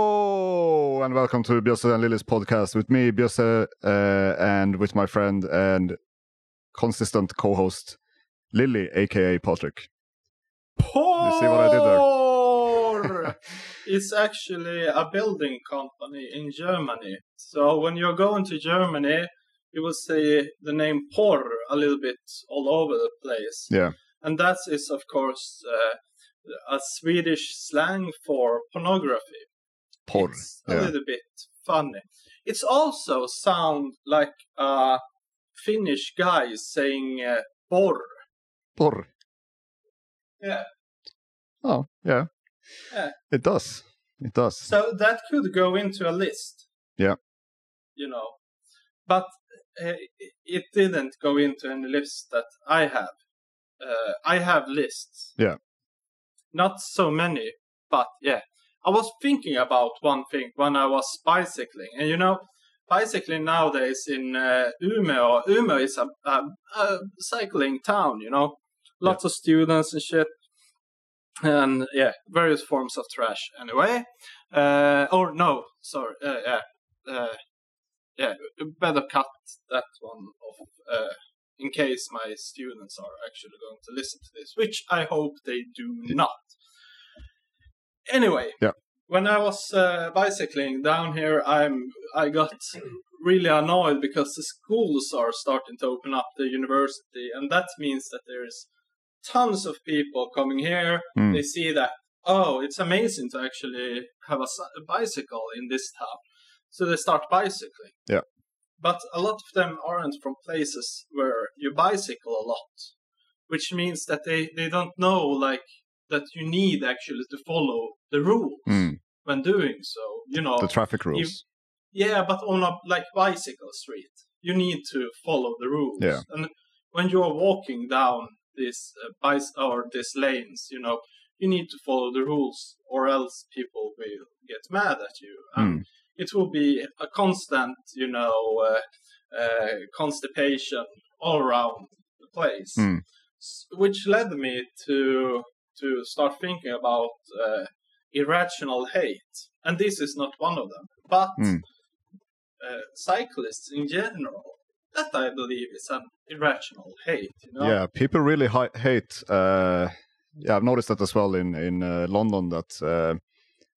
Hello and welcome to Björse and Lily's podcast with me, Björse, uh, and with my friend and consistent co-host Lily, aka Patrick. Por see what I did there? is actually a building company in Germany. So when you're going to Germany, you will see the name Por a little bit all over the place. Yeah. And that is, of course, uh, a Swedish slang for pornography. Porr. It's a yeah. little bit funny. It's also sound like a Finnish guy saying uh, Por. Porr. Yeah. Oh, yeah. Yeah. It does. It does. So that could go into a list. Yeah. You know, but uh, it didn't go into any list that I have. Uh, I have lists. Yeah. Not so many, but yeah. I was thinking about one thing when I was bicycling, and you know, bicycling nowadays in uh, Umeå. Umeå is a, a, a cycling town. You know, lots of students and shit, and yeah, various forms of trash. Anyway, uh, or no, sorry, uh, yeah, uh, yeah. Better cut that one off uh, in case my students are actually going to listen to this, which I hope they do not. Anyway, Yeah. when I was uh, bicycling down here, I'm I got really annoyed because the schools are starting to open up the university, and that means that there's tons of people coming here. Mm. They see that oh, it's amazing to actually have a, s- a bicycle in this town. So they start bicycling. Yeah. But a lot of them aren't from places where you bicycle a lot, which means that they, they don't know like that you need actually to follow the rules Mm, when doing so. You know, the traffic rules. yeah, but on a like bicycle street, you need to follow the rules. Yeah. And when you are walking down this uh, bice or these lanes, you know, you need to follow the rules, or else people will get mad at you, and it will be a constant, you know, uh, uh, constipation all around the place. Mm. S- Which led me to to start thinking about uh, irrational hate, and this is not one of them. But Mm. uh, cyclists in general, that I believe is an irrational hate. You know? Yeah, people really hi- hate. Uh, yeah, I've noticed that as well in in uh, London. That uh,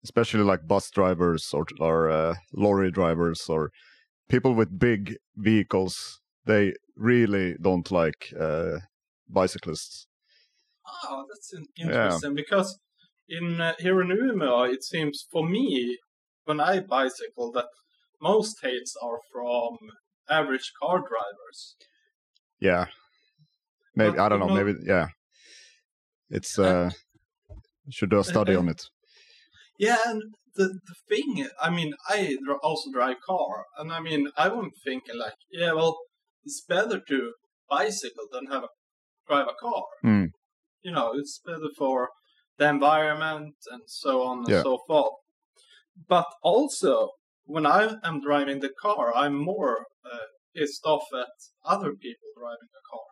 especially like bus drivers or or uh, lorry drivers or people with big vehicles, they really don't like uh, bicyclists. Oh, that's in- Yeah. interesting because in uh, here in Umeå, it seems for me when I bicycle that most hates are from average car drivers. Yeah, maybe But I don't know. people- Maybe yeah, it's uh, should do a study on it. Yeah, and the, the thing, I mean, I dr- also drive car, and I mean, I wouldn't think like, yeah, well, it's better to bicycle than have a drive a car. Mm. You know, it's better for the environment and so on and Yeah. so forth. But also, when I am driving the car, I'm more uh, pissed off at other people driving the car.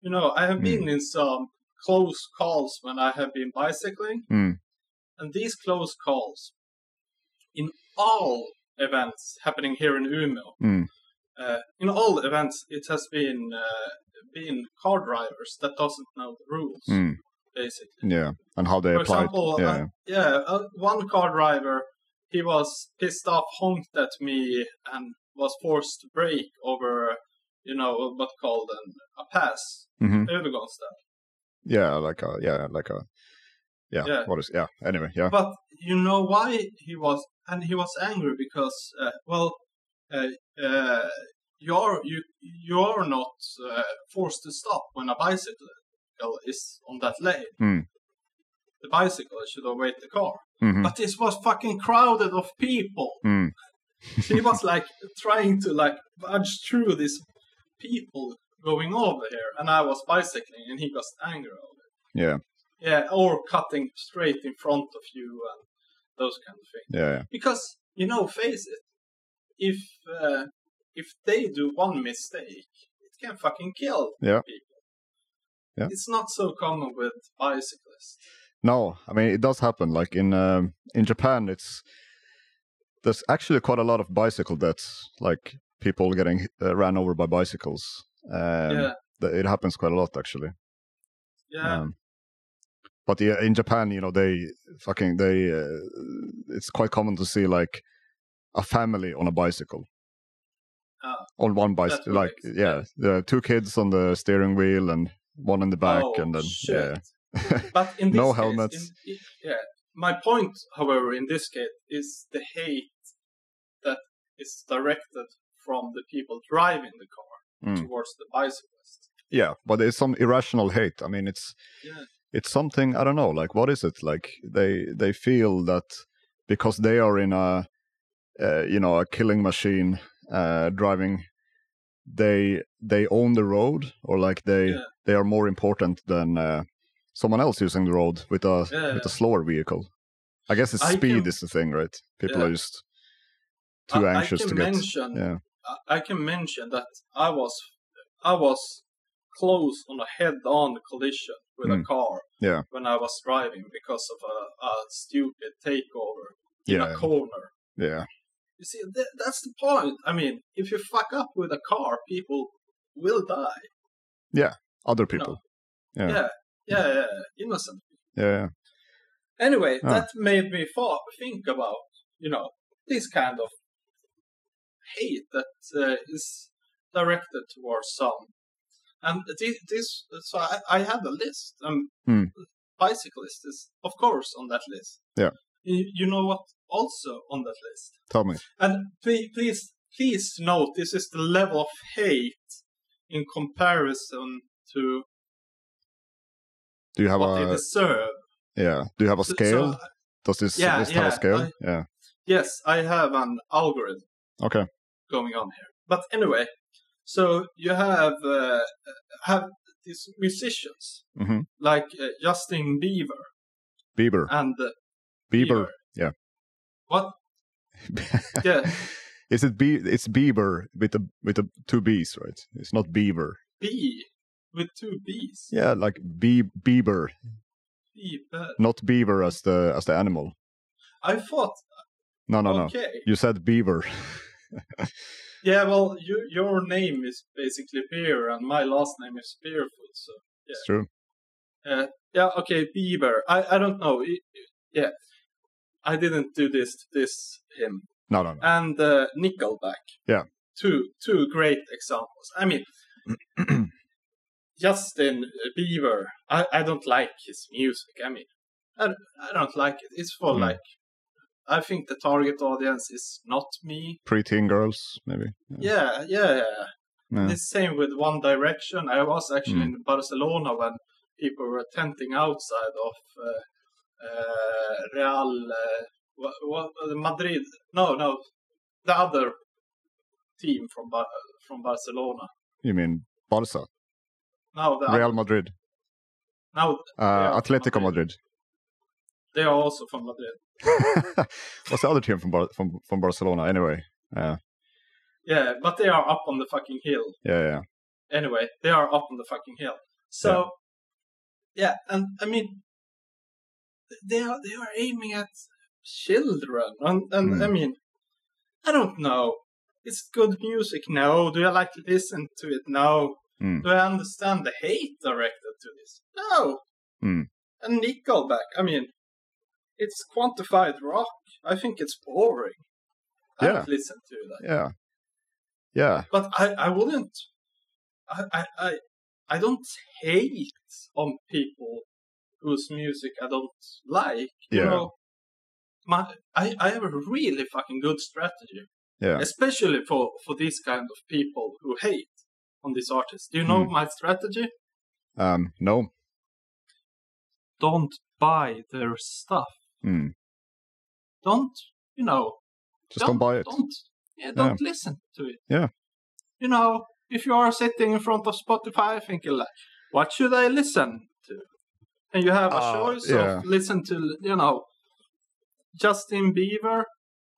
You know, I have been in some close calls when I have been bicycling, Mm. and these close calls in all events happening here in Umeå, Mm. uh, in all events, it has been uh, been car drivers that doesn't know the rules, Mm. basically. Yeah, and how they For apply. it. example, yeah, uh, Yeah, uh, one car driver, he was pissed off, honked at me, and was forced to brake over, you know, what's called an, a pass, Mhm. övergångsställe. yeah, like a yeah, like a yeah. Yeah. What is yeah? Anyway, yeah. But you know why he was, and he was angry because, uh, well, uh, uh, you're you you're not uh, forced to stop when a bicycle is on that lane. Hmm. The bicycle should await the car. Mhm. But this was fucking crowded of people. Mm. he was like trying to like budge through these people going over here, and I was bicycling, and he got angry over it. Yeah, Yeah, or cutting straight in front of you and those kind of things. yeah, yeah. Because you know, face it, if uh, if they do one mistake, it can fucking kill Yeah. people. Yeah. It's not so common with bicyclists. No, I mean it does happen. Like in um, in Japan, it's there's actually quite a lot of bicycle deaths, like people getting uh, ran over by bicycles. Um, yeah, th- It happens quite a lot actually. yeah, Um, but yeah, in Japan, you know, they fucking they. Uh, it's quite common to see like a family on a bicycle. Ah. on one That's bicycle, what like makes yeah, there are two kids on the steering wheel and one in the back, Oh, and then shit. yeah, But in this No case, helmets. in- i- yeah. My point, however, in this case, is the hate that is directed from the people driving the car Mm. towards the bicyclist. yeah. But it's some irrational hate. I mean, it's Yeah. it's something I don't know. Like, what is it? Like they they feel that because they are in a uh, you know a killing machine uh, driving, they they own the road or like they Yeah. they are more important than uh, someone else using the road with a Yeah. with a slower vehicle. I guess it's I speed can- is the thing, right? People Yeah. are just too I, anxious I to can get. mention, Yeah. I- I can mention that I was, I was close on a head-on collision with a Mm. car Yeah. when I was driving because of a, a stupid takeover in Yeah. a corner. Yeah. You see, th- that's the point. I mean, if you fuck up with a car, people will die. Other you know? people. Yeah. Yeah. Yeah, yeah, innocent. Yeah. yeah. Anyway, Ah. that made me thought, think about, you know, this kind of hate that uh, is directed towards some. And this, this so I, I had a list, and Hmm. bicyclist is, of course, on that list. Yeah. You, you know what? Also on that list. Tell me. And please, please, please note this is the level of hate in comparison to Do you have what they a deserve. yeah? Do you have a So- so scale? I- Does this, Yeah, this have yeah, a scale? I- yeah. yes, I have an algorithm Okay. going on here. But anyway, so you have uh, have these musicians hmm like uh, Justin Bieber Bieber. and uh, Bieber. yeah. What? Yeah, Is it be? It's Bieber with the with the two B's, right? It's not Beaver. B with two B's. Yeah, like Be Bieber, Bieber. not Beaver as the as the animal. I thought No, Oh, no, no. okay. You said Beaver. Yeah, well, you, your name is basically Beer, and my last name is Beerfoot. So It's true. yeah, okay, Bieber. I, I don't know. I- I- Yeah, I didn't do this to this him No, no, no. and uh, Nickelback. Yeah. two two great examples. I mean, Justin uh, Bieber. I, I don't like his music. I mean, I, I don't like it. It's for Mm. like, I think the target audience is not me. Preteen girls, maybe. Yeah. Yeah, yeah, yeah. Yeah. Mm. The same with One Direction. I was actually in Barcelona when people were tenting outside of uh, uh, Real uh, what, what, uh, Madrid. No, no, the other team from Bar- from Barcelona. You mean Barca, Now the Real Madrid, now uh, Real Atletico Madrid. they are also from Madrid. What's the other team from Bar- from from Barcelona? Anyway. Yeah, Yeah, but they are up on the fucking hill. yeah, yeah. anyway, they are up on the fucking hill. So, yeah, and I mean, they are they are aiming at children, and and Mm. I mean, I don't know. It's good music. No, do I like to listen to it? No. Mm. Do I understand the hate directed to this? No. Mm. And Nickelback. I mean, it's quantified rock. I think it's boring. I Yeah. don't listen to that Yeah. Yeah. but I, I wouldn't. I, I, I, I don't hate on people whose music I don't like. You Yeah. know, my, I, I have a really fucking good strategy, Yeah. especially for, for these kind of people who hate on these artists. Do you know Hmm. my strategy? Um, no. Don't buy their stuff. Hmm. Don't, you know, Just don't, buy it. Don't, yeah, don't listen to it. Yeah. You know, if you are sitting in front of Spotify thinking like, what should I listen to? And you have a Ah, choice yeah. of listen to, you know, Justin Bieber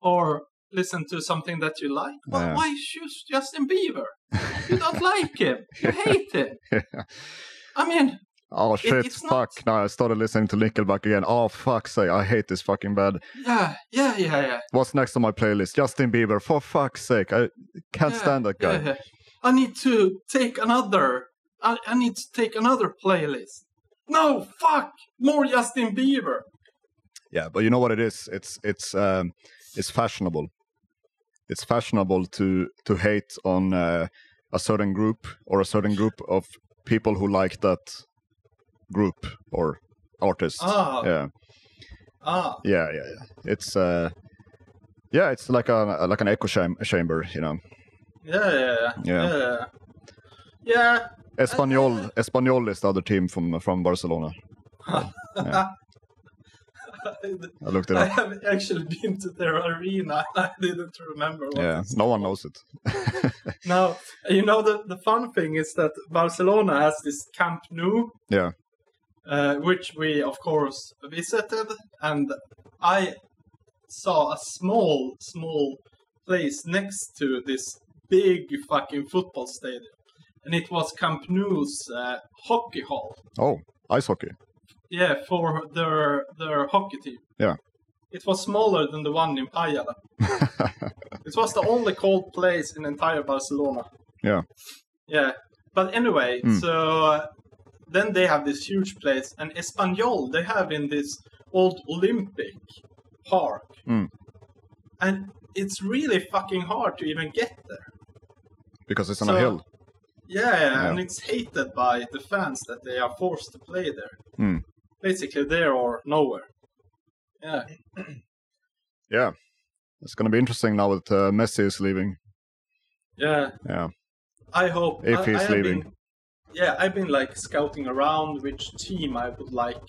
or listen to something that you like. Why, Yeah. why choose Justin Bieber? You don't like him. You hate him. I mean, Oh shit! it's fuck! not- Now I started listening to Nickelback again. Oh fuck! Say I hate this fucking band. Yeah, yeah, yeah, yeah. What's next on my playlist? Justin Bieber. For fuck's sake! I can't Yeah, stand that guy. yeah, yeah. I need to take another. I, I need to take another playlist. No, fuck! More Justin Bieber. Yeah, but you know what it is? It's it's um, it's fashionable. It's fashionable to to hate on uh, a certain group or a certain group of people who like that group or artist. Ah. Yeah, Ah, yeah, yeah, yeah. It's uh, yeah, it's like a like an echo cham- chamber, you know. yeah, yeah, yeah. Yeah. yeah, yeah. yeah. Espanol, Espanol is the other team from from Barcelona. I looked it I up. have actually been to their arena. I didn't remember what Yeah, it's no one knows it. Now, you know, the, the fun thing is that Barcelona has this Camp Nou, Yeah, uh, which we, of course, visited. And I saw a small, small place next to this big fucking football stadium. And it was Camp Nou's uh, hockey hall. oh, ice hockey. Yeah, for their their hockey team. Yeah. It was smaller than the one in Pajala. it was the only cold place in entire Barcelona. Yeah. Yeah. But anyway, Mm. so uh, then they have this huge place, and Espanyol they have in this old Olympic park, Mm. and it's really fucking hard to even get there. because it's on a So- hill. Yeah, Yeah. and it's hated by the fans that they are forced to play there. Hmm. Basically, there or nowhere. Yeah. Yeah, it's gonna be interesting now that uh, Messi is leaving. Yeah, Yeah, I hope If I- he's I have leaving. been- yeah, I've been like scouting around which team I would like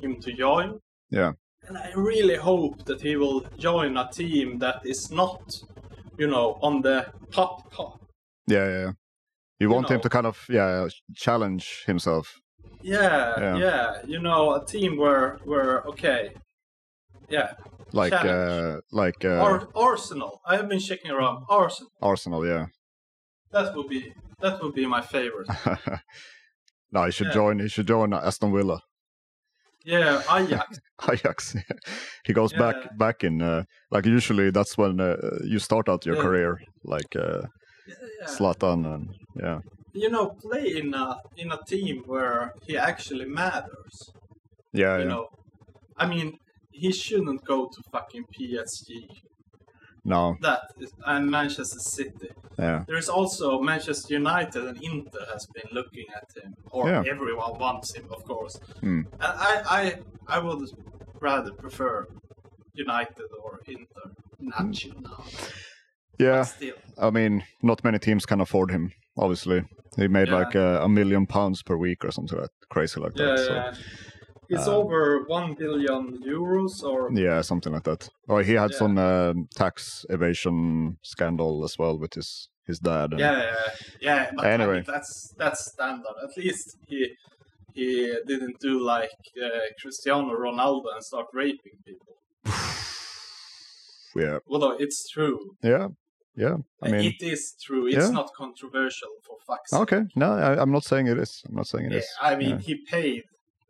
him to join, yeah, and I really hope that he will join a team that is not, you know, on the top top. yeah, yeah. yeah. You, want him know. to kind of yeah challenge himself. Yeah, Yeah. yeah, you know, a team where where okay, yeah, Like uh, Challenge. like uh, Ar- Arsenal. I have been checking around Arsenal. Arsenal, yeah. That would be that would be my favorite. no, he should Yeah. join. He should join Aston Villa, Yeah, Ajax. Ajax. he goes Yeah. back back in. Uh, like usually, that's when uh, you start out your Yeah. career, like uh, Yeah. Zlatan and yeah, you know, play in a in a team where he actually matters. Oh, yeah, you yeah. know, I mean, he shouldn't go to fucking PSG. No, That is, and Manchester City. yeah, There is also Manchester United and Inter has been looking at him, or Yeah. everyone wants him, of course. Hmm. And I, I, I would rather prefer United or Inter. Nacho now, Hmm. yeah. still. I mean, not many teams can afford him. Obviously, he made Yeah. like uh, a million pounds per week or something like crazy like Yeah, that. so- yeah. It's um, over one billion euros, or Yeah, something like that. Oh, he had Yeah. some um, tax evasion scandal as well with his his dad. and- yeah, yeah, yeah. But I Anyway. mean, that's that's standard. At least he he didn't do like uh, Cristiano Ronaldo and start raping people. yeah, Although it's true, yeah, yeah. I mean, it is true. It's yeah. not controversial for fuck's sake. okay. No, I, I'm not saying it is. I'm not saying it Yeah, is. I mean, yeah. he paid.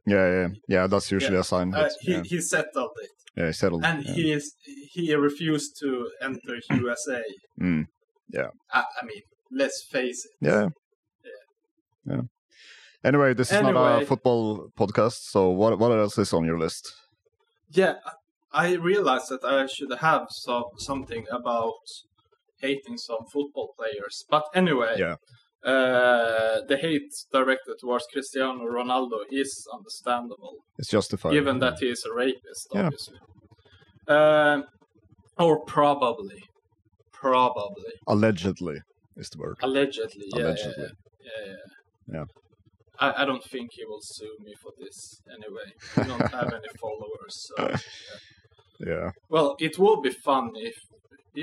yeah, yeah, yeah. That's usually a sign. Uh, that- he yeah, he settled it, yeah, he settled. and yeah. he is he refused to enter USA. Mm, I, I mean, let's face it. yeah. yeah. Anyway, this is not a Anyway. football podcast. So what what else is on your list? Yeah, I realized that I should have some something about hating some football players. But anyway, Yeah. uh, the hate directed towards Cristiano Ronaldo is understandable, It's justified. given that he is a rapist, Yeah. obviously. Um or probably, probably, allegedly is the word. allegedly. yeah, Allegedly. Yeah, yeah. yeah. Yeah. I, I don't think he will sue me for this anyway. We don't have any followers. So. Yeah. Well, it will be fun if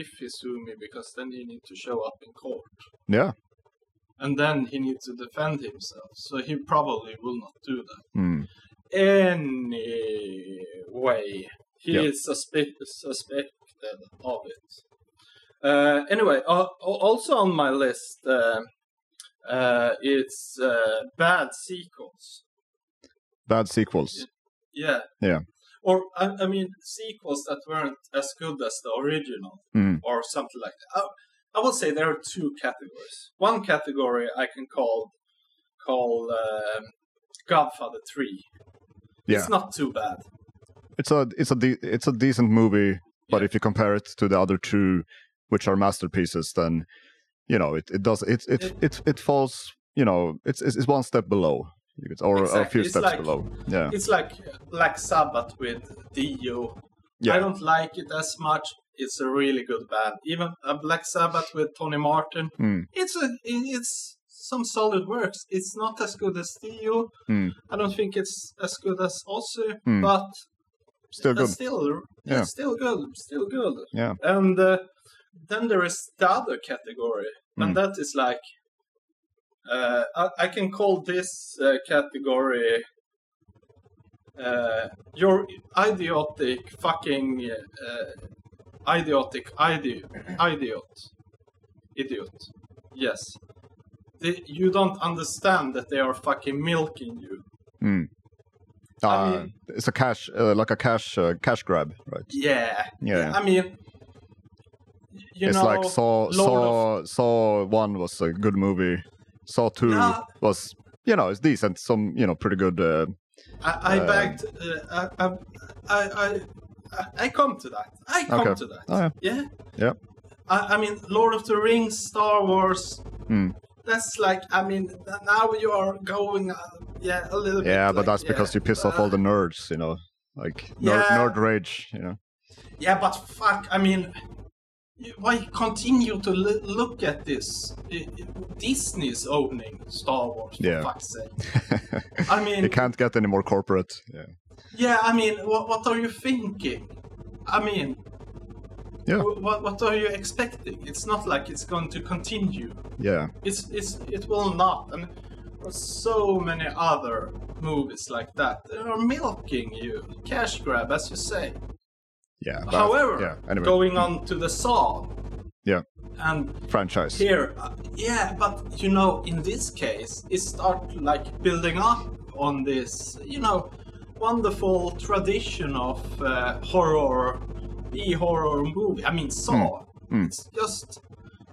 if he sue me because then he need to show up in court Yeah. and then he needs to defend himself. So he probably will not do that. Mm. Anyway, he Yeah. is suspe- suspected of it. Uh, anyway, uh, also on my list, uh, uh, it's uh, bad sequels. bad sequels. Yeah. Yeah. Or I, I mean, sequels that weren't as good as the original, Mm. or something like that. I, I would say there are two categories. One category I can call call um, Godfather Three. Yeah, It's not too bad. it's a it's a de- it's a decent movie, but Yeah. if you compare it to the other two, which are masterpieces, then you know it, it does it it, it It- it falls you know it's it's, it's one step below you could- or a few Exactly, it's steps like- below. Yeah, It's like Black Sabbath with Dio. Yeah. I don't like it as much. It's a really good band. Even a Black Sabbath with Tony Martin. Mm. It's a it- it's some solid works. It's not as good as Dio. Mm. I don't think it's as good as Ozzy, Mm. but still that's good. still Yeah. it's still good, still good. Yeah. And uh, then there is the other category, Mm. and that is like uh, I, I can call this uh, category uh, your idiotic fucking uh, idiotic idiot idiot idiot. Yes. The, you don't understand that they are fucking milking you. Uh, I mean- it's a cash uh, like a cash uh, cash grab, right? Yeah. Yeah. I mean, y- you it's know, like Saw Saw Lord Saw One was a good movie. Saw Two Nah. was you know it's decent. Some you know pretty good. Uh, I, I Uh, backed. Uh, I, I, I, I, I come to that. I come Okay. to that. Oh, yeah. yeah. Yeah. I, I mean, Lord of the Rings, Star Wars. Hmm. That's like. I mean, now you are going. Uh, yeah, a little bit. yeah, but like, that's yeah, because you piss off all uh, the nerds, you know, like nerd, Yeah. nerd rage, you know. Yeah, but fuck. I mean. you- Why continue to l- look at this? I- I- Disney's owning Star Wars, for Yeah. fuck's sake. I mean, It can't get any more corporate. Yeah, Yeah, I mean, what, what are you thinking? I mean, Yeah. wh- what, what are you expecting? It's not like it's going to continue. yeah, It's it's it will not. And there are so many other movies like that. They are milking you, cash grab, as you say. yeah. that- However, yeah. Anyway, going on to the saw. Yeah. And franchise. here, uh, yeah, but you know, in this case, it start like building up on this, you know, wonderful tradition of uh, horror, e horror movie. I mean, Saw. Mm. It's just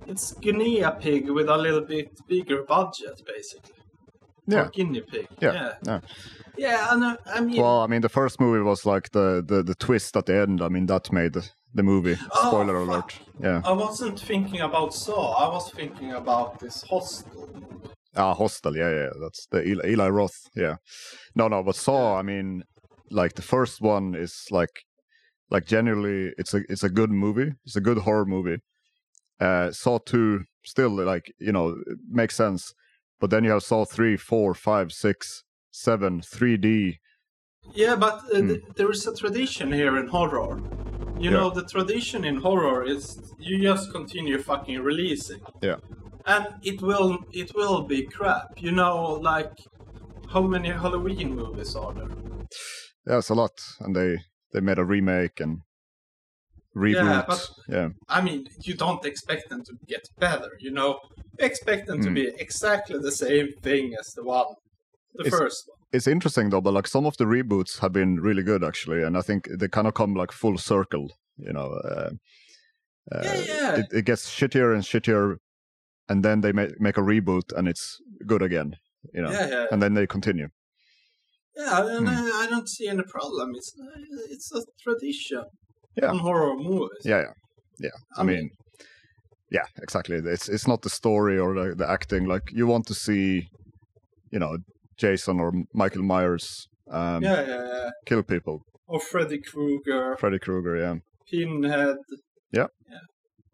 it's guinea pig with a little bit bigger budget, basically. Yeah. Or guinea pig. Yeah, Yeah. yeah. Yeah, I know. I mean, Well, I mean, the first movie was like the, the the twist at the end. I mean, that made the movie. Oh, Spoiler fuck. alert. Yeah. I wasn't thinking about Saw. I was thinking about this hostel. movie. Ah, Hostel. Yeah, yeah. That's the Eli, Eli Roth. Yeah. No, no. But Saw. I mean, like the first one is like, like generally, it's a it's a good movie. It's a good horror movie. Uh, Saw two still like you know it makes sense, but then you have Saw three, four, five, six, seven, three D. Yeah, but uh, th- there is a tradition here in horror. You Hmm. Yeah. know, the tradition in horror is you just continue fucking releasing, Yeah. and it will it will be crap. You know, like how many Halloween movies are there? Yeah, it's a lot, and they they made a remake and reboot. Yeah. but- yeah. I mean, you don't expect them to get better. You know, you expect them to Mm. be exactly the same thing as the one, the It's- first one. It's interesting though, but like some of the reboots have been really good actually, and I think they kind of come like full circle. You know, uh, uh, yeah, yeah. it, it gets shittier and shittier, and then they make make a reboot and it's good again. You know, yeah, yeah. and then they continue. Yeah, and Mm. I, I don't see any problem. It's it's a tradition Yeah. on horror movies. Yeah, yeah, yeah. I, I mean, mean- yeah, exactly. It's it's not the story or the, the acting. Like you want to see, you know, Jason or Michael Myers um, yeah, yeah, yeah. kill people. Or Freddy Krueger, Freddy Krueger, yeah. Pinhead. Yeah. yeah.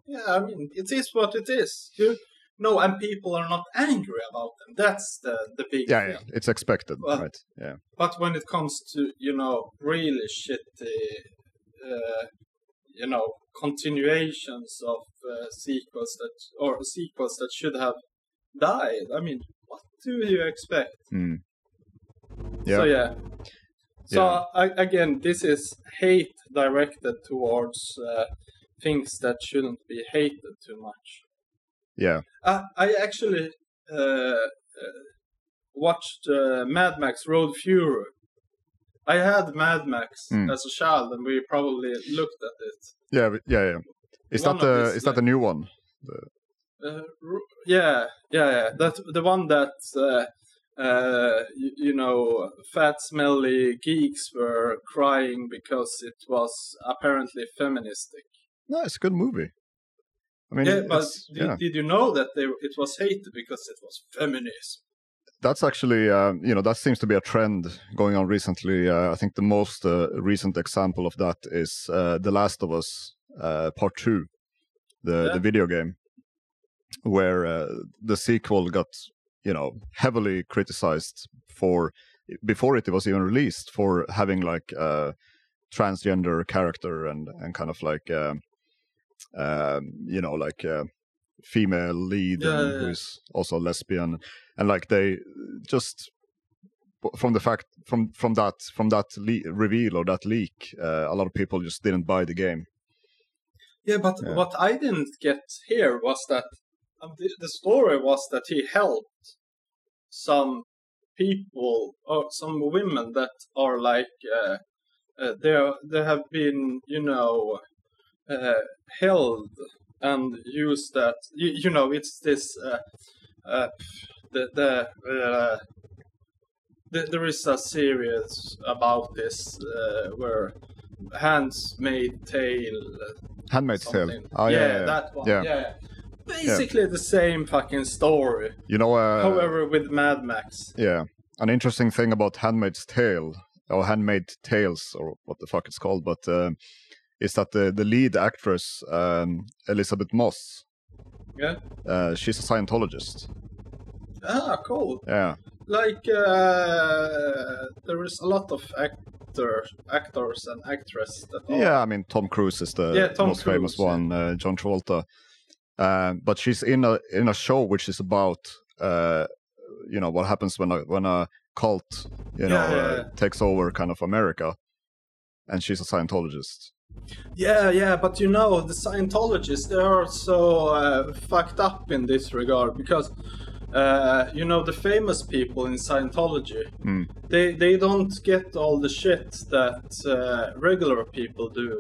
Yeah, I mean, it is what it is. You, no, and people are not angry about them. That's the, the big Yeah, thing. yeah. It's expected, Well- right? Yeah. But when it comes to, you know, really shitty, uh, you know, continuations of uh, sequels that, or sequels that should have died, I mean, what do you expect? Mm. Yeah. So yeah. So I, again, this is hate directed towards uh, things that shouldn't be hated too much. Yeah. I, I actually uh, uh, watched uh, Mad Max Road Fury I had Mad Max Mm. as a child, and we probably looked at it. Yeah, but- yeah, yeah. Is One that of the these, is that the new one? Uh, r- yeah, yeah, yeah. That the one that uh, uh, you, you know, fat smelly geeks were crying because it was apparently feministic. No, it's a good movie. I mean, yeah, but it's- did, did you know that they, it was hated because it was feminism? that's actually um, you know that seems to be a trend going on recently. Uh, I think the most uh, recent example of that is uh, The Last of Us uh, Part Two, the Yeah. the video game, where uh, the sequel got you know heavily criticized for before it was even released for having like a transgender character and and kind of like um, um, you know like a female lead Yeah, and yeah, yeah. who's also lesbian and like they just from the fact from from that from that le- reveal or that leak uh, a lot of people just didn't buy the game Yeah, but Yeah. what I didn't get here was that um, the, the story was that he helped some people or some women that are like uh, uh, they are- they have been you know uh, held and used that you, you know it's this uh, uh, the the. Uh, th- there is a series about this uh, where Hands Made Tale handmaid's tale Something. oh, yeah, yeah, yeah, yeah. that one. Yeah. Yeah. Basically the same fucking story. you know uh, However, with Mad Max. yeah an interesting thing about handmaid's tale or handmade tales or what the fuck it's called but um is that the, the lead actress um, elizabeth moss Yeah. uh, she's a scientologist Ah, cool. yeah Like uh, there is a lot of actor, actors and actresses that are. Yeah, I mean Tom Cruise is the Yeah, Tom most famous Cruise, yeah. one. Uh, John Travolta, um, but she's in a in a show which is about uh, you know what happens when a when a cult you Yeah, know yeah, uh, takes over kind of America, and she's a Scientologist. yeah, yeah, But you know, the Scientologists they are so uh, fucked up in this regard because. Uh, you know the famous people in Scientology, Mm. they they don't get all the shit that uh, regular people do.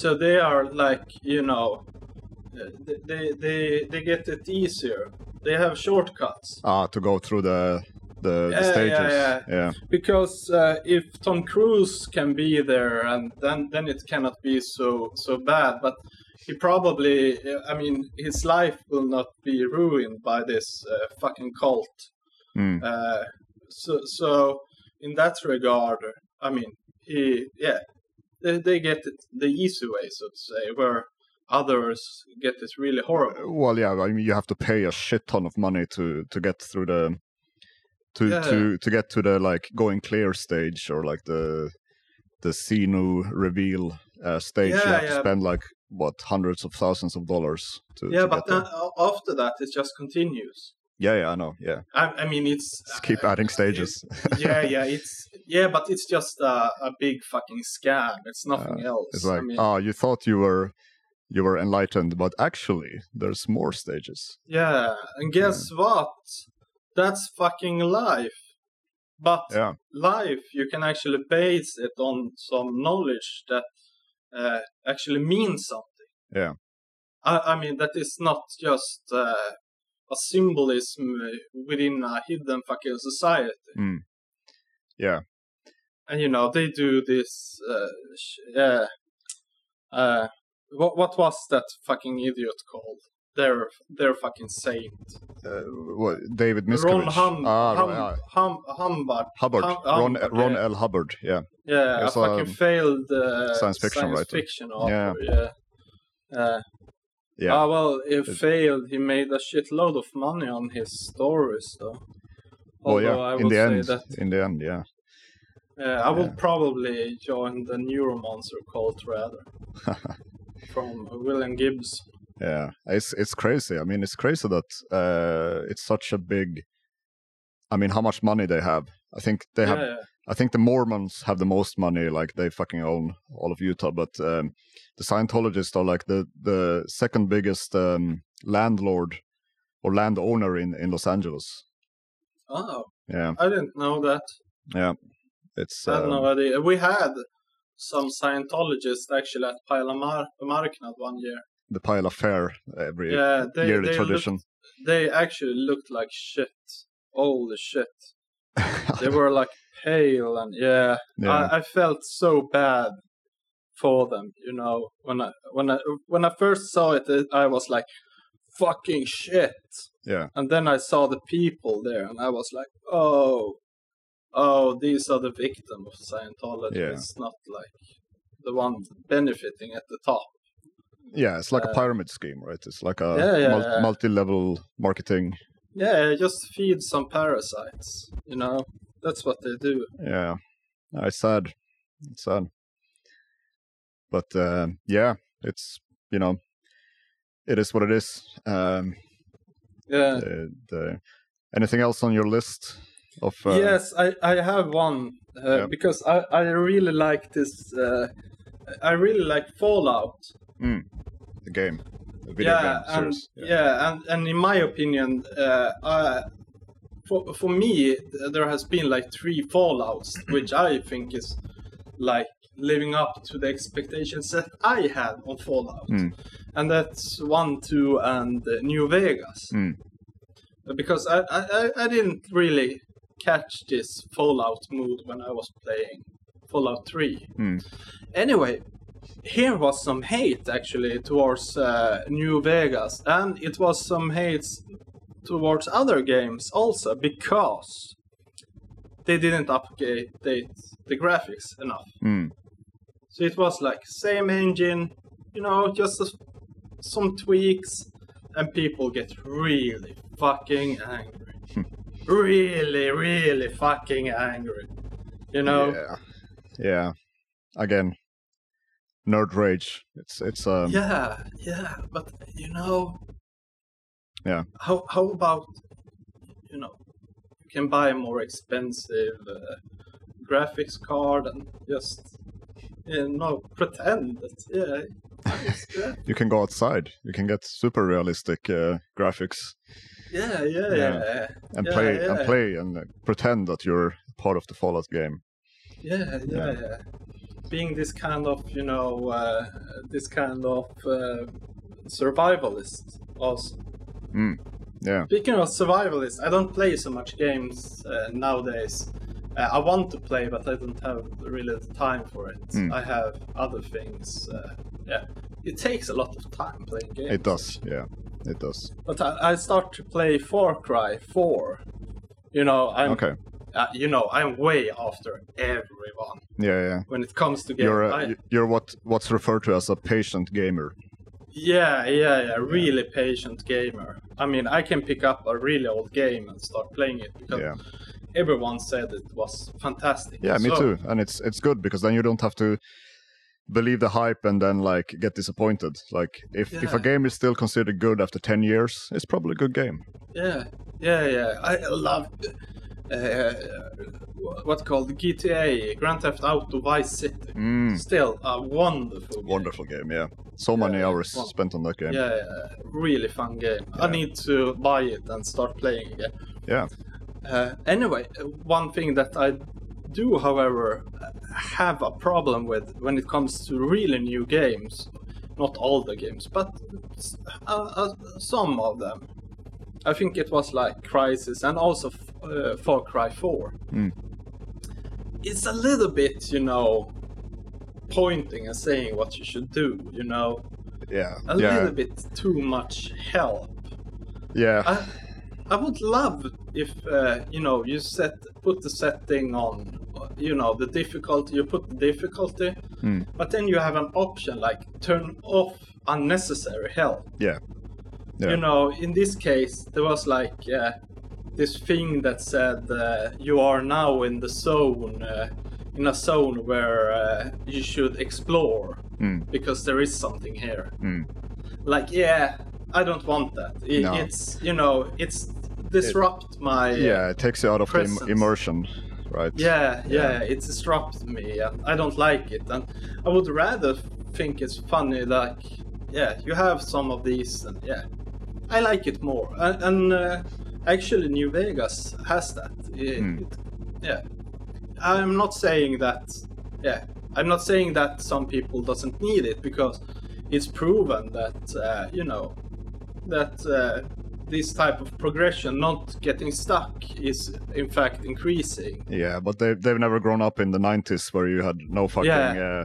So they are like you know, uh, th- they they they get it easier. They have shortcuts Ah, to go through the the, the Yeah, yeah, stages. yeah. because uh, if Tom Cruise can be there, and then then it cannot be so so bad. But he probably, uh, I mean, his life will not be ruined by this uh, fucking cult. Mm. Uh, so, so in that regard, I mean, he, yeah, they, they get it the easy way, so to say, where others get it really horrible. Well, yeah, I mean you have to pay a shit ton of money to to get through the to Yeah. to to get to the like going clear stage or like the the Sinu reveal uh, stage. you Yeah, have to yeah. spend like what hundreds of thousands of dollars to. Yeah, to but get there. then a- after that, it just continues. yeah, yeah, I know. Yeah, I, I mean, it's Just keep adding stages. yeah, yeah, it's yeah, but it's just a, a big fucking scam. It's nothing else. It's like, I mean, ah, you thought you were you were enlightened, but actually, there's more stages. yeah, and guess what? That's fucking life. But Yeah, life, you can actually base it on some knowledge that uh, actually means something. Yeah. I, I mean, that is not just uh, a symbolism uh, within a hidden fucking society. Mm. Yeah. And, you know, they do this. Uh, sh- uh, uh, what, what was that fucking idiot called? Their, their fucking saint. uh, what, David Miskovich. Ron hum, ah, hum, right, ah, hum, Humbug. Hubbard, Hum- Ron, Humbug, Ron yeah. L. Hubbard. Yeah, Yeah, It's, a fucking um, failed uh, science fiction writer. fiction author, yeah. Uh, yeah. Ah, well, it It- failed. He made a shitload of money on his stories, though. well, Although yeah. I in would the say end, that in the end, yeah. uh, I would probably join the Neuromancer cult rather. From William Gibbs. Yeah, it's it's crazy. I mean, it's crazy that uh, it's such a big. I mean, how much money they have? I think they have. yeah, I think the Mormons have the most money. Like they fucking own all of Utah, but um, the Scientologists are like the the second biggest um, landlord or landowner in in Los Angeles. oh, Yeah, I didn't know that. yeah. It's I have um, no idea. We had some Scientologists actually at Pile Mar- Marknad one year. the pile of fair every yeah, they, yearly they tradition. Looked, they actually looked like shit. Holy shit. They were like pale and yeah. yeah. I, I felt so bad for them, you know. When I when I when I first saw it, it- I was like, "Fucking shit!" Yeah. And then I saw the people there, and I was like, "Oh, oh, these are the victims of Scientology. Yeah. It's not like the one benefiting at the top." yeah, it's like a uh, pyramid scheme, right? It's like a Yeah, yeah, mul- yeah. multi-level marketing. Yeah, just feed some parasites, you know. That's what they do. Yeah, No, it's sad. It's sad. But uh, yeah, it's you know, it is what it is. Um, Yeah. the, the, anything else on your list of? Uh, yes, I, I have one uh, Yeah. because I, I really like this. Uh, I really like Fallout. the game, the video yeah, game and, series. yeah. and and in my opinion, uh, uh, for for me, th- there has been like three Fallout's, which I think is like living up to the expectations that I had on Fallout, Mm. and that's one, two, and uh, New Vegas. Uh, Mm. Because I, I I- I didn't really catch this Fallout mood when I was playing Fallout Three. Mm. Anyway, here was some hate actually towards uh, New Vegas, and it was some hate towards other games also because they didn't update the graphics enough. Mm, So it was like same engine, you know, just a- some tweaks, and people get really fucking angry. really, really fucking angry. You know? Yeah, yeah. Again, nerd rage. It's it's um, yeah, yeah, but you know. Yeah. How how about you know you can buy a more expensive uh, graphics card and just you know pretend that yeah it's gra- you can go outside. You can get super realistic uh, graphics yeah yeah Yeah. yeah and Yeah, play and yeah. play and uh, pretend that you're part of the Fallout game. yeah yeah, Yeah. yeah. being this kind of you know uh, this kind of uh, survivalist also. Yeah. Speaking of survivalists, I don't play so much games uh, nowadays. Uh, I want to play, but I don't have really the time for it. Mm. I have other things. Uh, yeah, it takes a lot of time playing games. It does, yeah, it does. But I, I start to play Far Cry 4. You know, I'm Okay, uh, you know I'm way after everyone yeah, yeah. when it comes to games. You're a, I- y- you're what what's referred to as a patient gamer. Yeah, yeah, yeah. Really patient gamer. I mean, I can pick up a really old game and start playing it because Yeah, everyone said it was fantastic. yeah, me So, too. And it's it's good because then you don't have to believe the hype and then like get disappointed. Like if if a Yeah. game is still considered good after ten years, it's probably a good game. Yeah, yeah, yeah. I love uh, what's called GTA, Grand Theft Auto Vice City. Mm, Still a wonderful, game. wonderful game, yeah. So many Yeah, hours won- spent on that game. Yeah, yeah, really fun game. I Yeah. need to buy it and start playing again. Yeah. Uh, anyway, uh, one thing that I do, however, uh, have a problem with when it comes to really new games, not all the games, but s- uh, uh, some of them. I think it was like Crisis and also f- uh, Far Cry 4. Mm. It's a little bit, you know, pointing and saying what you should do, you know, yeah, a yeah, little bit too much help. yeah. I, I would love if uh, you know you set put the setting on uh, you know the difficulty you put the difficulty Mm. but then you have an option like turn off unnecessary help Yeah. Yeah. you know in this case there was like uh, this thing that said uh, you are now in the zone uh, in a zone where uh, you should explore Mm. because there is something here Mm. like yeah i don't want that I- No. it's you know it's disrupt my yeah, it takes you out of the im- Presence. immersion, right? yeah, Yeah. yeah, it disrupts me. And I don't like it, and I would rather think it's funny. Like, yeah, you have some of these, and yeah, I like it more. And, and uh, actually, New Vegas has that. It, Hmm. it- yeah, I'm not saying that. Yeah, I'm not saying that some people doesn't need it because it's proven that uh, you know that uh, this type of progression, not getting stuck, is in fact increasing. Yeah, but they they've never grown up in the '90s where you had no fucking uh, Yeah.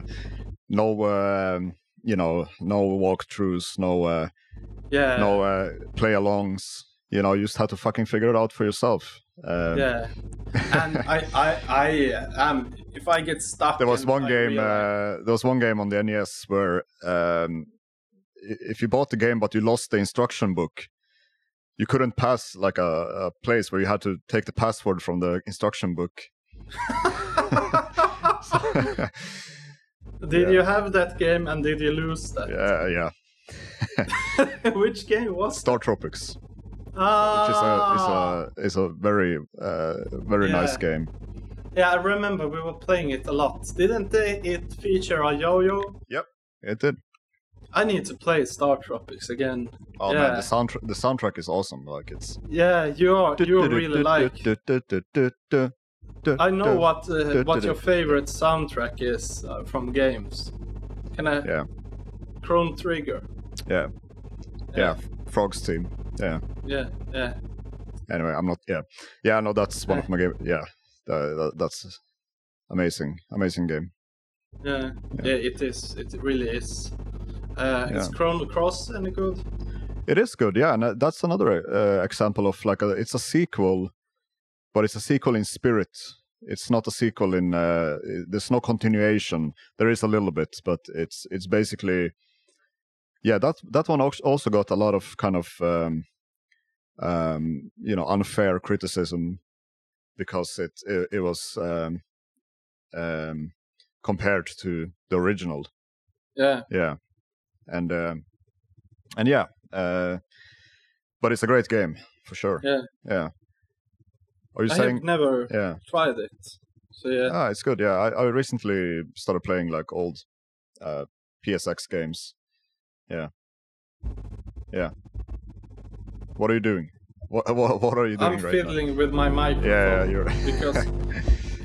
no um, you know no walkthroughs, no uh, Yeah. no uh, play-alongs. You know, you just had to fucking figure it out for yourself. Um, Yeah. And I, I, I am. If I get stuck, there was and one I game. realize- Uh, there was one game on the NES where um, i- if you bought the game but you lost the instruction book, you couldn't pass like a, a place where you had to take the password from the instruction book. yeah, did uh, yeah. you have that game and did you lose that? yeah. Which game was? Star Tropics, which is Ah, a is a is a very uh, very nice Yeah. game. yeah. I remember we were playing it a lot. Didn't they, it feature a yo-yo? It did. I need to play Star Tropics again. Oh man, Yeah. the soundtrack the soundtrack is awesome. Like it's. Yeah, you are. You really like. I know what uh, what your favorite soundtrack is uh, from games. Can I? Yeah. Chrome Trigger. Yeah. Yeah, Frogs team. Yeah. Yeah. Yeah. Anyway, I'm not. Yeah. Yeah. No, that's one Yeah. of my game. Yeah. Tha- tha- that's amazing. Amazing game. Yeah, yeah, it is. It really is. Uh, Is Chrono Cross any good? It is good. Yeah, and uh, that's another uh, example of like a, it's a sequel, but it's a sequel in spirit. It's not a sequel in. Uh, i- there's no continuation. There is a little bit, but it's it's basically. Yeah, that that one als- also got a lot of kind of um, um, you know unfair criticism because it it, it was um, um, compared to the original Yeah, yeah and um and yeah uh but it's a great game for sure Yeah. yeah are you I saying have never yeah tried it. So yeah, ah it's good yeah I, I recently started playing like old uh psx games yeah yeah what are you doing what what, what are you doing I'm right fiddling with my now microphone yeah, yeah you're because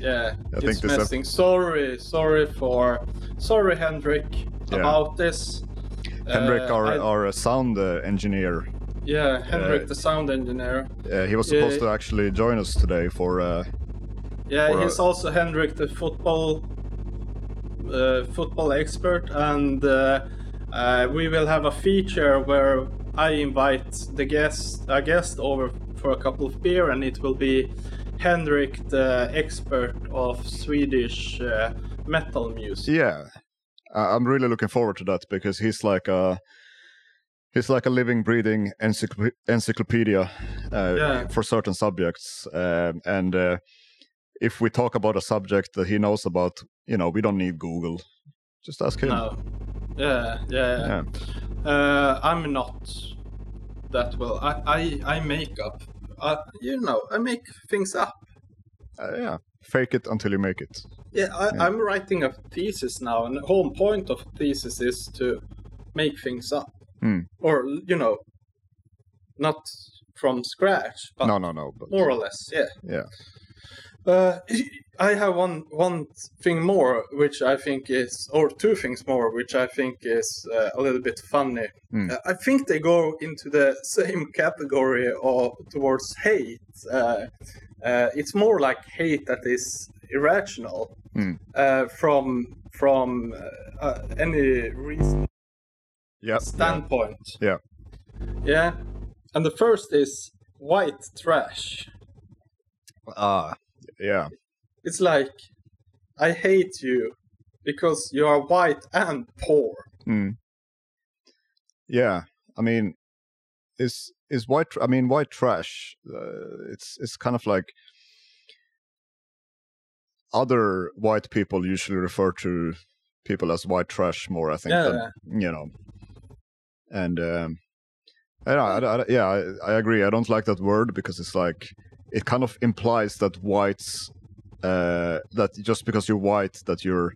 yeah, I think it's this ep- messing. Sorry, sorry for sorry, Hendrik, Yeah. about this. Henrik, Uh, our, I- our uh, sound uh, engineer, yeah, Henrik, uh, the sound engineer. uh, he was Yeah. supposed to actually join us today for uh, Yeah, for he's a- also Henrik, the football uh, football expert, and uh, uh, we will have a feature where I invite the guest a guest over for a couple of beer, and it will be Henrik, the expert of Swedish uh, metal music. Yeah, I- I'm really looking forward to that because he's like a he's like a living, breathing encyclop- encyclopedia uh, Yeah. for certain subjects. Um, and uh, if we talk about a subject that he knows about, you know, we don't need Google. Just ask him. No. Yeah, yeah. Yeah. Uh, I'm not that well. I I, I make up. I, you know, I make things up. Uh, yeah, fake it until you make it. Yeah, I, Yeah. I'm writing a thesis now, and the whole point of thesis is to make things up, Hmm. or you know, not from scratch, but no, no, no. But more or less, yeah. yeah, Uh, I have one one thing more, which I think is, or two things more, which I think is uh, a little bit funny. Hmm. Uh, I think they go into the same category of towards hate. Uh, uh, it's more like hate that is irrational Hmm. uh, from from uh, uh, any reason yeah, yeah. standpoint. Yeah. Yeah, and the first is white trash. Ah, yeah, It's like, I hate you because you are white and poor. mm. yeah. I mean, is is white? tr- I mean, white trash. Uh, it's it's kind of like other white people usually refer to people as white trash more. I think, than, you know, and um, I don't, I, I, yeah, I, I agree. I don't like that word because it's like it kind of implies that whites uh, that just because you're white that you're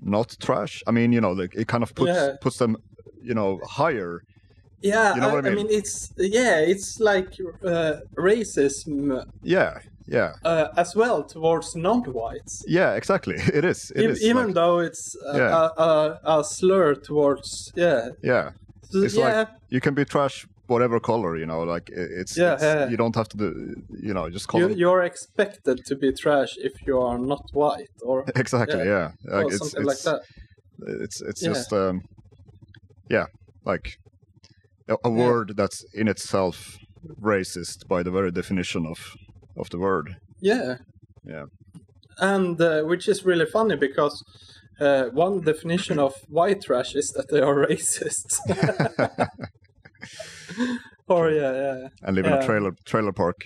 not trash. I mean, you know, like it kind of puts Yeah. puts them you know higher. Yeah, You know I, what I mean? it's yeah, it's like uh, racism Yeah, yeah uh, as well towards non-whites. yeah exactly it is it E- is, even like- though it's a, Yeah. a, a, a slur towards yeah, yeah So, It's yeah, like- you can be trash whatever color you know like it- it's, Yeah, it's yeah, yeah. you don't have to do you know just call you, them you're expected to be trash if you are not white or, exactly yeah, or Like, it's, something it's, like that. it's it's Yeah. just um yeah like a, a Yeah. word that's in itself racist by the very definition of of the word Yeah. Yeah. And uh, which is really funny because uh, one definition of white trash is that they are racist. or yeah, yeah, yeah. and live in a Yeah. trailer trailer park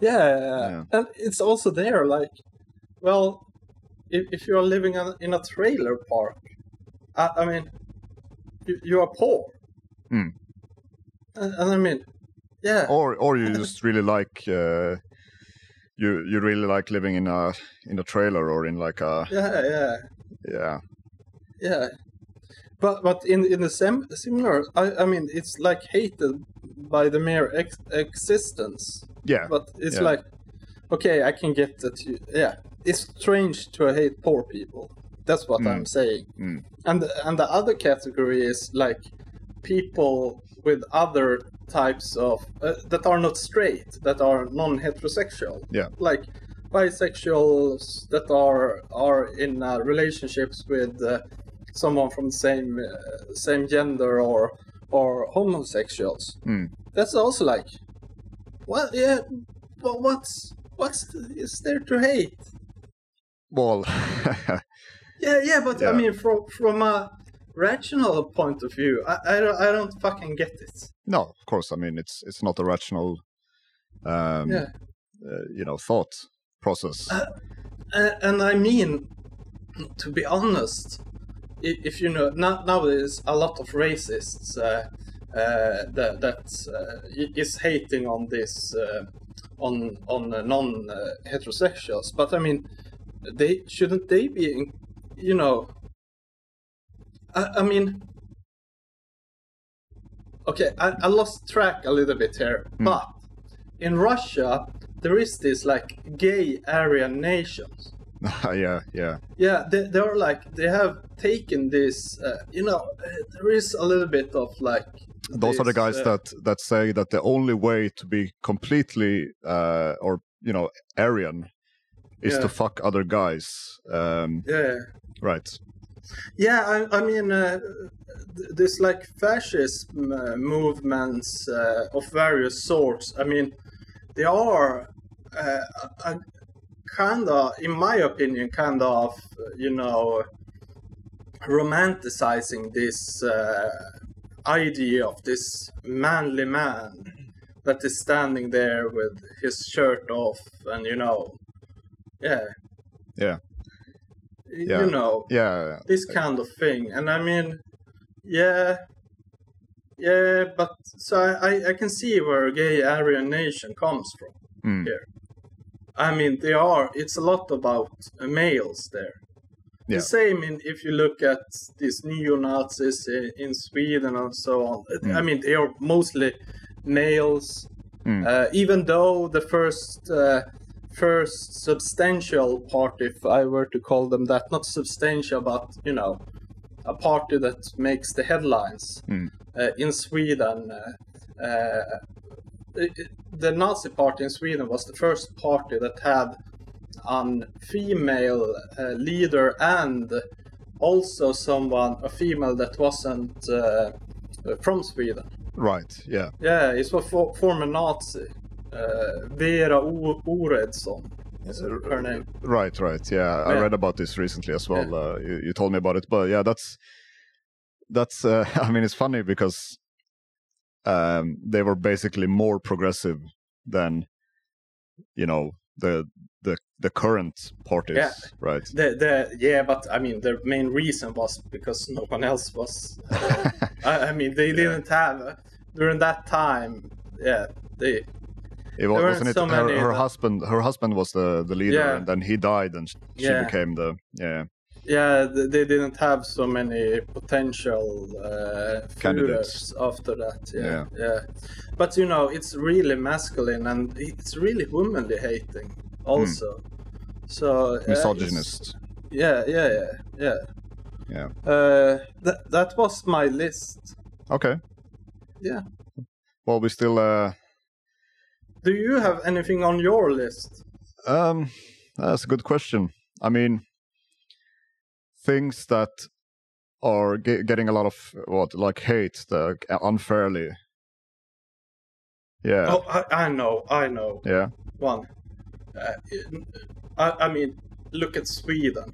Yeah, yeah, Yeah. yeah. And it's also there, like, well, if, if you're living on, in a trailer park, I, I mean, you, you are poor. Hmm. Oh. And, and I mean, yeah, or or you just really like uh you you really like living in a in a trailer or in like a yeah, yeah, yeah yeah. But but in in the sem- similar, I, I mean, it's like hated by the mere ex- existence. yeah But it's Yeah. like, okay, I can get that. You, yeah, it's strange to hate poor people. That's what Mm. I'm saying. Mm. And and the other category is like people with other types of uh, that are not straight, that are non-heterosexual. Yeah. Like bisexuals that are are in uh, relationships with uh, someone from the same uh, same gender or or homosexuals. Mm. That's also like well, yeah, but what's what's th- is there to hate? well Yeah, yeah, but I Yeah. mean, from from a rational point of view, I I don't, I don't fucking get it. no of course i mean it's it's not a rational um Yeah, Uh, uh, you know thought process and, and I mean, to be honest, i- if you know now nowadays a lot of racists uh, uh, that that uh, i- is hating on this uh, on on uh, non uh, heterosexuals, but I mean, they shouldn't they be, in, you know. I, I mean, okay, I, I lost track a little bit here, but in Russia there is this like gay Aryan nations yeah yeah yeah they, they're like they have taken this uh, you know uh, there is a little bit of like those are the this, guys uh, that that say that the only way to be completely uh or you know aryan is Yeah. to fuck other guys um yeah right yeah i, I mean uh, th- this like fascism uh, movements uh, of various sorts i mean they are uh, a, a kind of in my opinion kind of uh, you know romanticizing this uh, idea of this manly man that is standing there with his shirt off and you know yeah Yeah. Y- Yeah. you know yeah this kind of thing and i mean yeah yeah but so i i, I can see where gay aryan nation comes from mm, I mean, they are. It's a lot about uh, males there. Yeah. The same in if you look at these neo Nazis in, in Sweden and so on. Uh, I Mm. mean, they are mostly males. Mm. Uh, even though the first uh, first substantial party, if I were to call them that, not substantial, but you know, a party that makes the headlines Mm. uh, in Sweden. Uh, uh, it- it- the Nazi party in Sweden was the first party that had an female uh, leader and also someone, a female that wasn't uh, from Sweden. right yeah Yeah, it was for, former Nazi. Uh, Vera O- Oredsson, is her name. Right, right. Yeah, I Yeah. read about this recently as well. Uh, you, you told me about it, but yeah, that's that's. Uh, I mean, it's funny because um, they were basically more progressive than you know the the the current parties, Yeah. right? The, the, yeah, but I mean, the main reason was because no one else was. I, I mean, they didn't have, during that time, yeah, they, It was, There wasn't weren't it so her, many her that- husband. Her husband was the the leader, Yeah. and then he died, and sh- she Yeah. Uh, became the yeah Yeah, th- they didn't have so many potential uh, Candidates. Führers after that. Yeah, Yeah. yeah, But you know, it's really masculine and it's really womanly hating Mm. also. So uh, it's- Misogynist. yeah, yeah, yeah, yeah. Yeah. Uh, that that was my list. Okay. Yeah. Well, we still. Uh, Do you have anything on your list? um, that's a good question. I mean, things that are ge- getting a lot of what, like hate, the, unfairly. Yeah. Oh, I, I know, I know. Yeah. One. Uh, in- I, I mean, look at Sweden.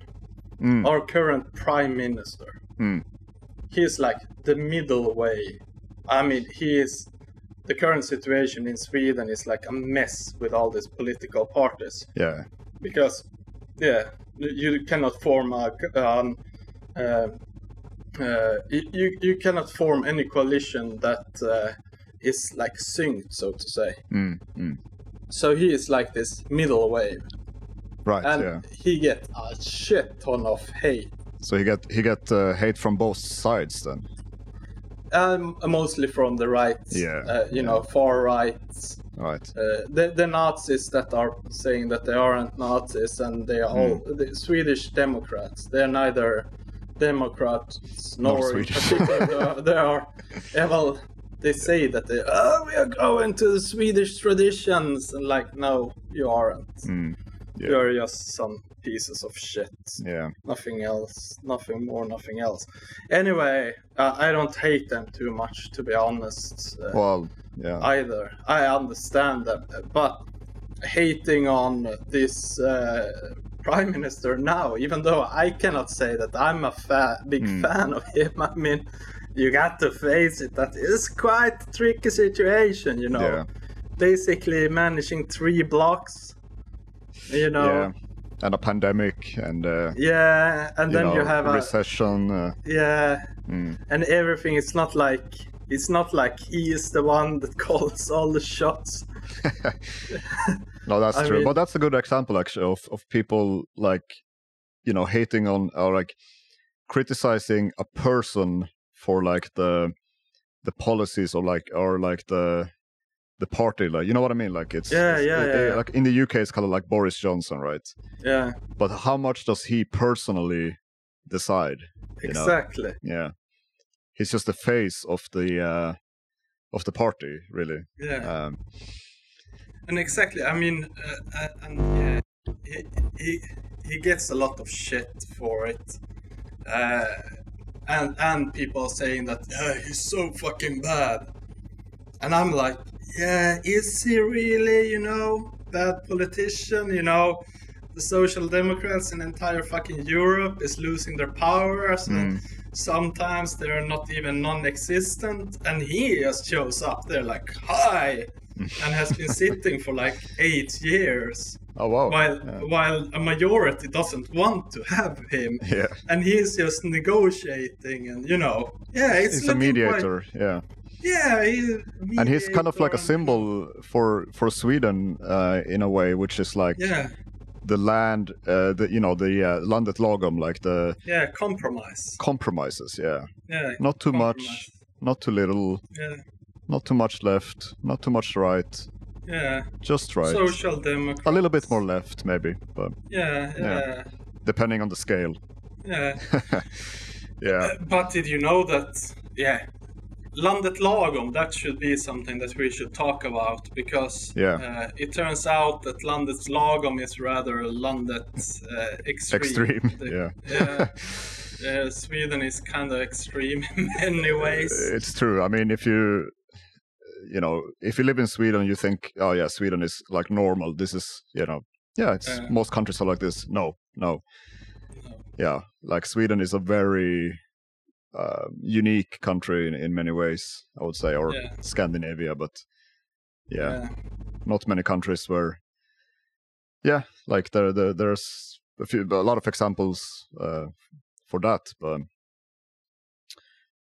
Mm. Our current prime minister. Mm. He's like the middle way. I mean, he is. The current situation in Sweden is like a mess with all these political parties Yeah. because, yeah, you cannot form a. Um, uh, uh, you- you you cannot form any coalition that uh, is like synced, so to say. Mm. Mm. So he is like this middle wave, Right. and yeah. he get a shit ton of hate, So he got he got uh, hate from both sides then. um, mostly from the right, Yeah, uh, you yeah. know, far right, Right. uh, the the Nazis that are saying that they aren't Nazis, and they are Hmm. all the Swedish Democrats. They're neither Democrats nor, in Swedish. particular, they are- they are, yeah, well, they say that they, oh, we are going to the Swedish traditions, and like, no, you aren't. Mm. Yeah. You're just some pieces of shit. Yeah. nothing else, nothing more, nothing else. Anyway, uh, I don't hate them too much, to be honest, uh, Well. Yeah. either. I understand them, uh, but hating on this uh, prime minister now, even though I cannot say that I'm a fa- big Mm. fan of him, I mean, you got to face it, that is quite a tricky situation, you know. Yeah. Basically, managing three blocks, you know. Yeah. And a pandemic and. Uh, Yeah, and then know, you have a recession. Uh, yeah, mm, and everything. It's not like it's not like he is the one that calls all the shots. no, that's I true. mean- but that's a good example actually of of people like, you know, hating on or like criticizing a person for like the the policies or like or like the the party like you know what i mean like it's Yeah, it's- yeah, they- yeah, they- yeah. like in the uk it's kind of like boris johnson right Yeah, but how much does he personally decide You know. exactly. yeah he's just the face of the uh of the party really Yeah, um and exactly. I mean, uh, uh, and yeah, he, he he gets a lot of shit for it, uh, and and people saying that yeah, he's so fucking bad, and I'm like, yeah, is he really? You know, bad politician. You know. The social democrats in entire fucking Europe is losing their powers, and sometimes they're not even non-existent. And he just shows up there like, "Hi, and has been sitting for like eight years oh wow while yeah. while a majority doesn't want to have him Yeah. and he's just negotiating and you know yeah it's, he's a looking quite- mediator yeah yeah he's a and he's kind of like mediator a and- symbol for for sweden uh in a way which is like yeah the land uh the you know the uh, landet lagom like the yeah compromise compromises yeah yeah not too much compromise. not too little yeah not too much left not too much right yeah just right social democrat a little bit more left maybe but yeah yeah Yeah. depending on the scale yeah yeah But did you know that? Yeah, landet lagom. That should be something that we should talk about because Yeah. uh, it turns out that landet lagom is rather landet uh, extreme. extreme The- yeah yeah. Uh, Sweden is kind of extreme in many Uh, ways. It's true. I mean, if you, you know, if you live in Sweden, you think, oh yeah, Sweden is like normal. This is, you know, yeah, it's Yeah. most countries are like this. No, no, No. yeah, like Sweden is a very uh, unique country in, in many ways. I would say, or Yeah. Scandinavia, but yeah, Yeah. not many countries where, yeah, like there, there there's a few, a lot of examples uh, for that, but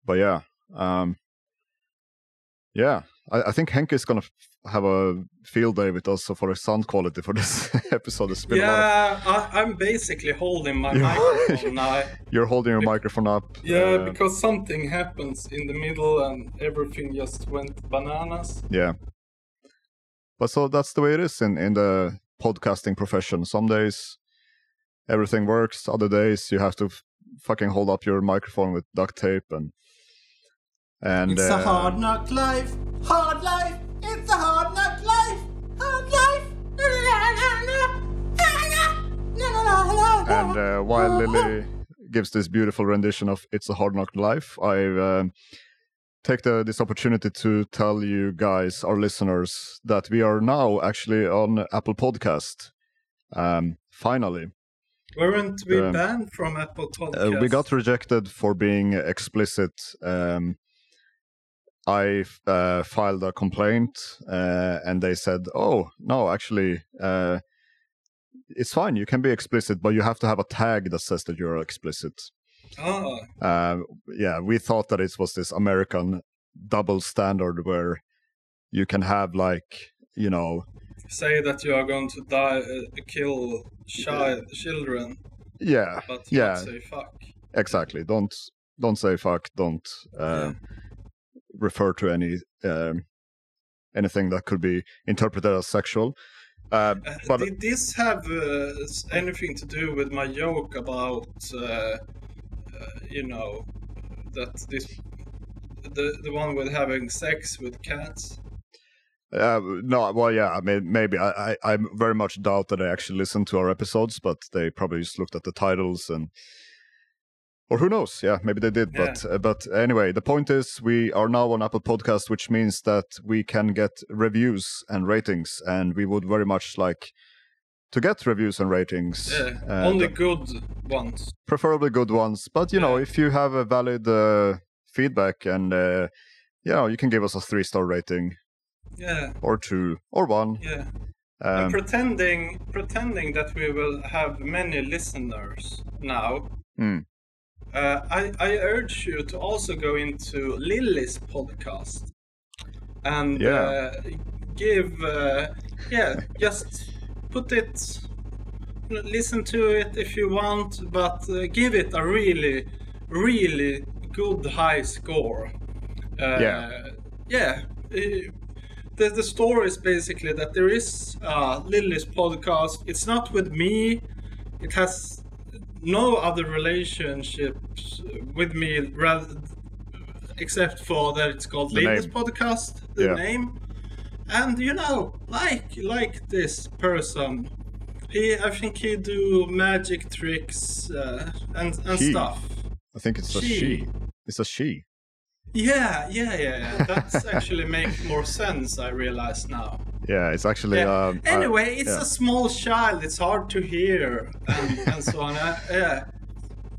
but yeah, um, yeah, I, I think Henke is gonna f- have a field day with us for the sound quality for this episode. It's been a lot of- yeah, I, I'm basically holding my Yeah. microphone now. you're holding your microphone up. Yeah, uh, because something happens in the middle and everything just went bananas. Yeah. But so that's the way it is in, in the podcasting profession. Some days everything works, other days you have to f- fucking hold up your microphone with duct tape and and It's uh, a hard knock life. Hard life. It's a hard knock life. Hard life. and uh, while Lily gives this beautiful rendition of "It's a Hard Knock Life," I um take the, this opportunity to tell you guys, our listeners, that we are now actually on Apple Podcast. Um, finally, Weren't we Um, banned from Apple Uh, Podcast? we got rejected for being explicit. Um, I uh, filed a complaint, uh, and they said, "Oh no, actually, uh, it's fine. You can be explicit, but you have to have a tag that says that you're explicit." Ah, Uh, yeah, we thought that it was this American double standard where you can have like you know say that you are going to die, uh, kill child, children, yeah but you Yeah. say fuck. exactly don't don't say fuck don't uh, refer to any um, anything that could be interpreted as sexual uh, Uh, but Did this have uh, s- anything to do with my joke about, uh, uh, you know, that this, the the one with having sex with cats? uh, no well yeah i mean maybe I, I i very much doubt that they actually listened to our episodes but they probably just looked at the titles and or who knows yeah maybe they did but uh, but anyway the point is we are now on apple podcast which means that we can get reviews and ratings and we would very much like to get reviews and ratings Yeah, uh, only that- good ones. preferably good ones. But you know, if you have a valid uh, feedback and uh, you know, you can give us a three star rating Yeah, or two or one. yeah. I'm Um, pretending pretending that we will have many listeners now. Mm. Uh, I, I urge you to also go into Lily's podcast and Yeah. uh, give uh, yeah just put it listen to it if you want but uh, give it a really really good high score uh, Yeah. yeah uh, the, the story is basically that there is uh, Lily's podcast. It's not with me. It has no other relationships with me, rather, except for that it's called The Lily's name. podcast, the Yeah. name. And you know, like like this person, he I think he do magic tricks uh, and and He. stuff. I think it's a she. She. It's a she. Yeah, yeah, yeah. yeah. That's actually makes more sense. I realize now. Yeah, it's actually. Yeah. Um, I- anyway, it's yeah. a small child. It's hard to hear and, and so on. Uh, yeah. Yeah.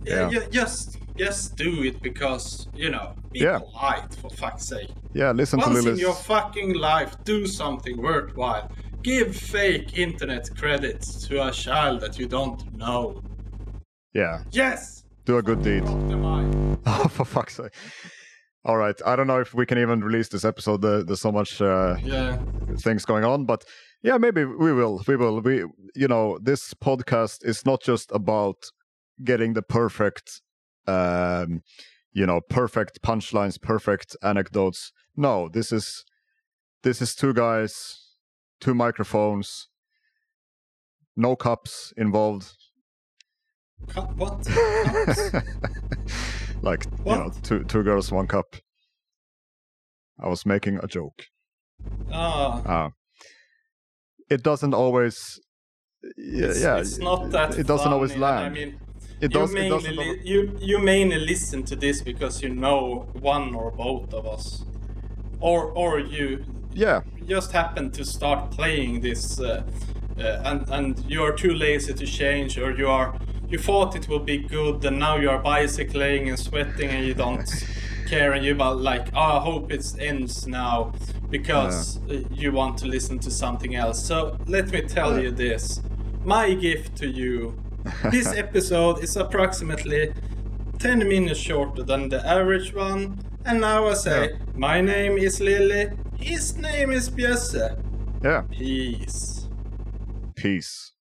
Yeah, ju- just just do it because you know be Yeah. polite for fuck's sake. yeah, listen to Once in Lily's. your fucking life, do something worthwhile. Give fake internet credits to a child that you don't know. yeah, Yes, do a good deed. drop the mic. Oh, for fuck's sake. All right, I don't know if we can even release this episode. There- There's so much uh, Yeah, things going on but yeah maybe we will we will we you know this podcast is not just about getting the perfect um you know perfect punchlines perfect anecdotes no this is this is two guys two microphones no cups involved Cu- what? like you know What? two two girls one cup i was making a joke Ah, Uh, it doesn't always. Yeah, it's, yeah, it's not that. It doesn't always funny, and land. I mean, it does. you It mainly doesn't. li- al- you you mainly listen to this because you know one or both of us, or or you yeah, just happen to start playing this, uh, uh, and and you are too lazy to change, or you are you thought it would be good, and now you are bicycling and sweating, and you don't care, and you about like oh, I hope it ends now, because uh, you want to listen to something else. So let me tell you this, my gift to you. This episode is approximately 10 minutes shorter than the average one. And now I say, my name is Lily, His name is Bjesse. Yeah, Peace. peace.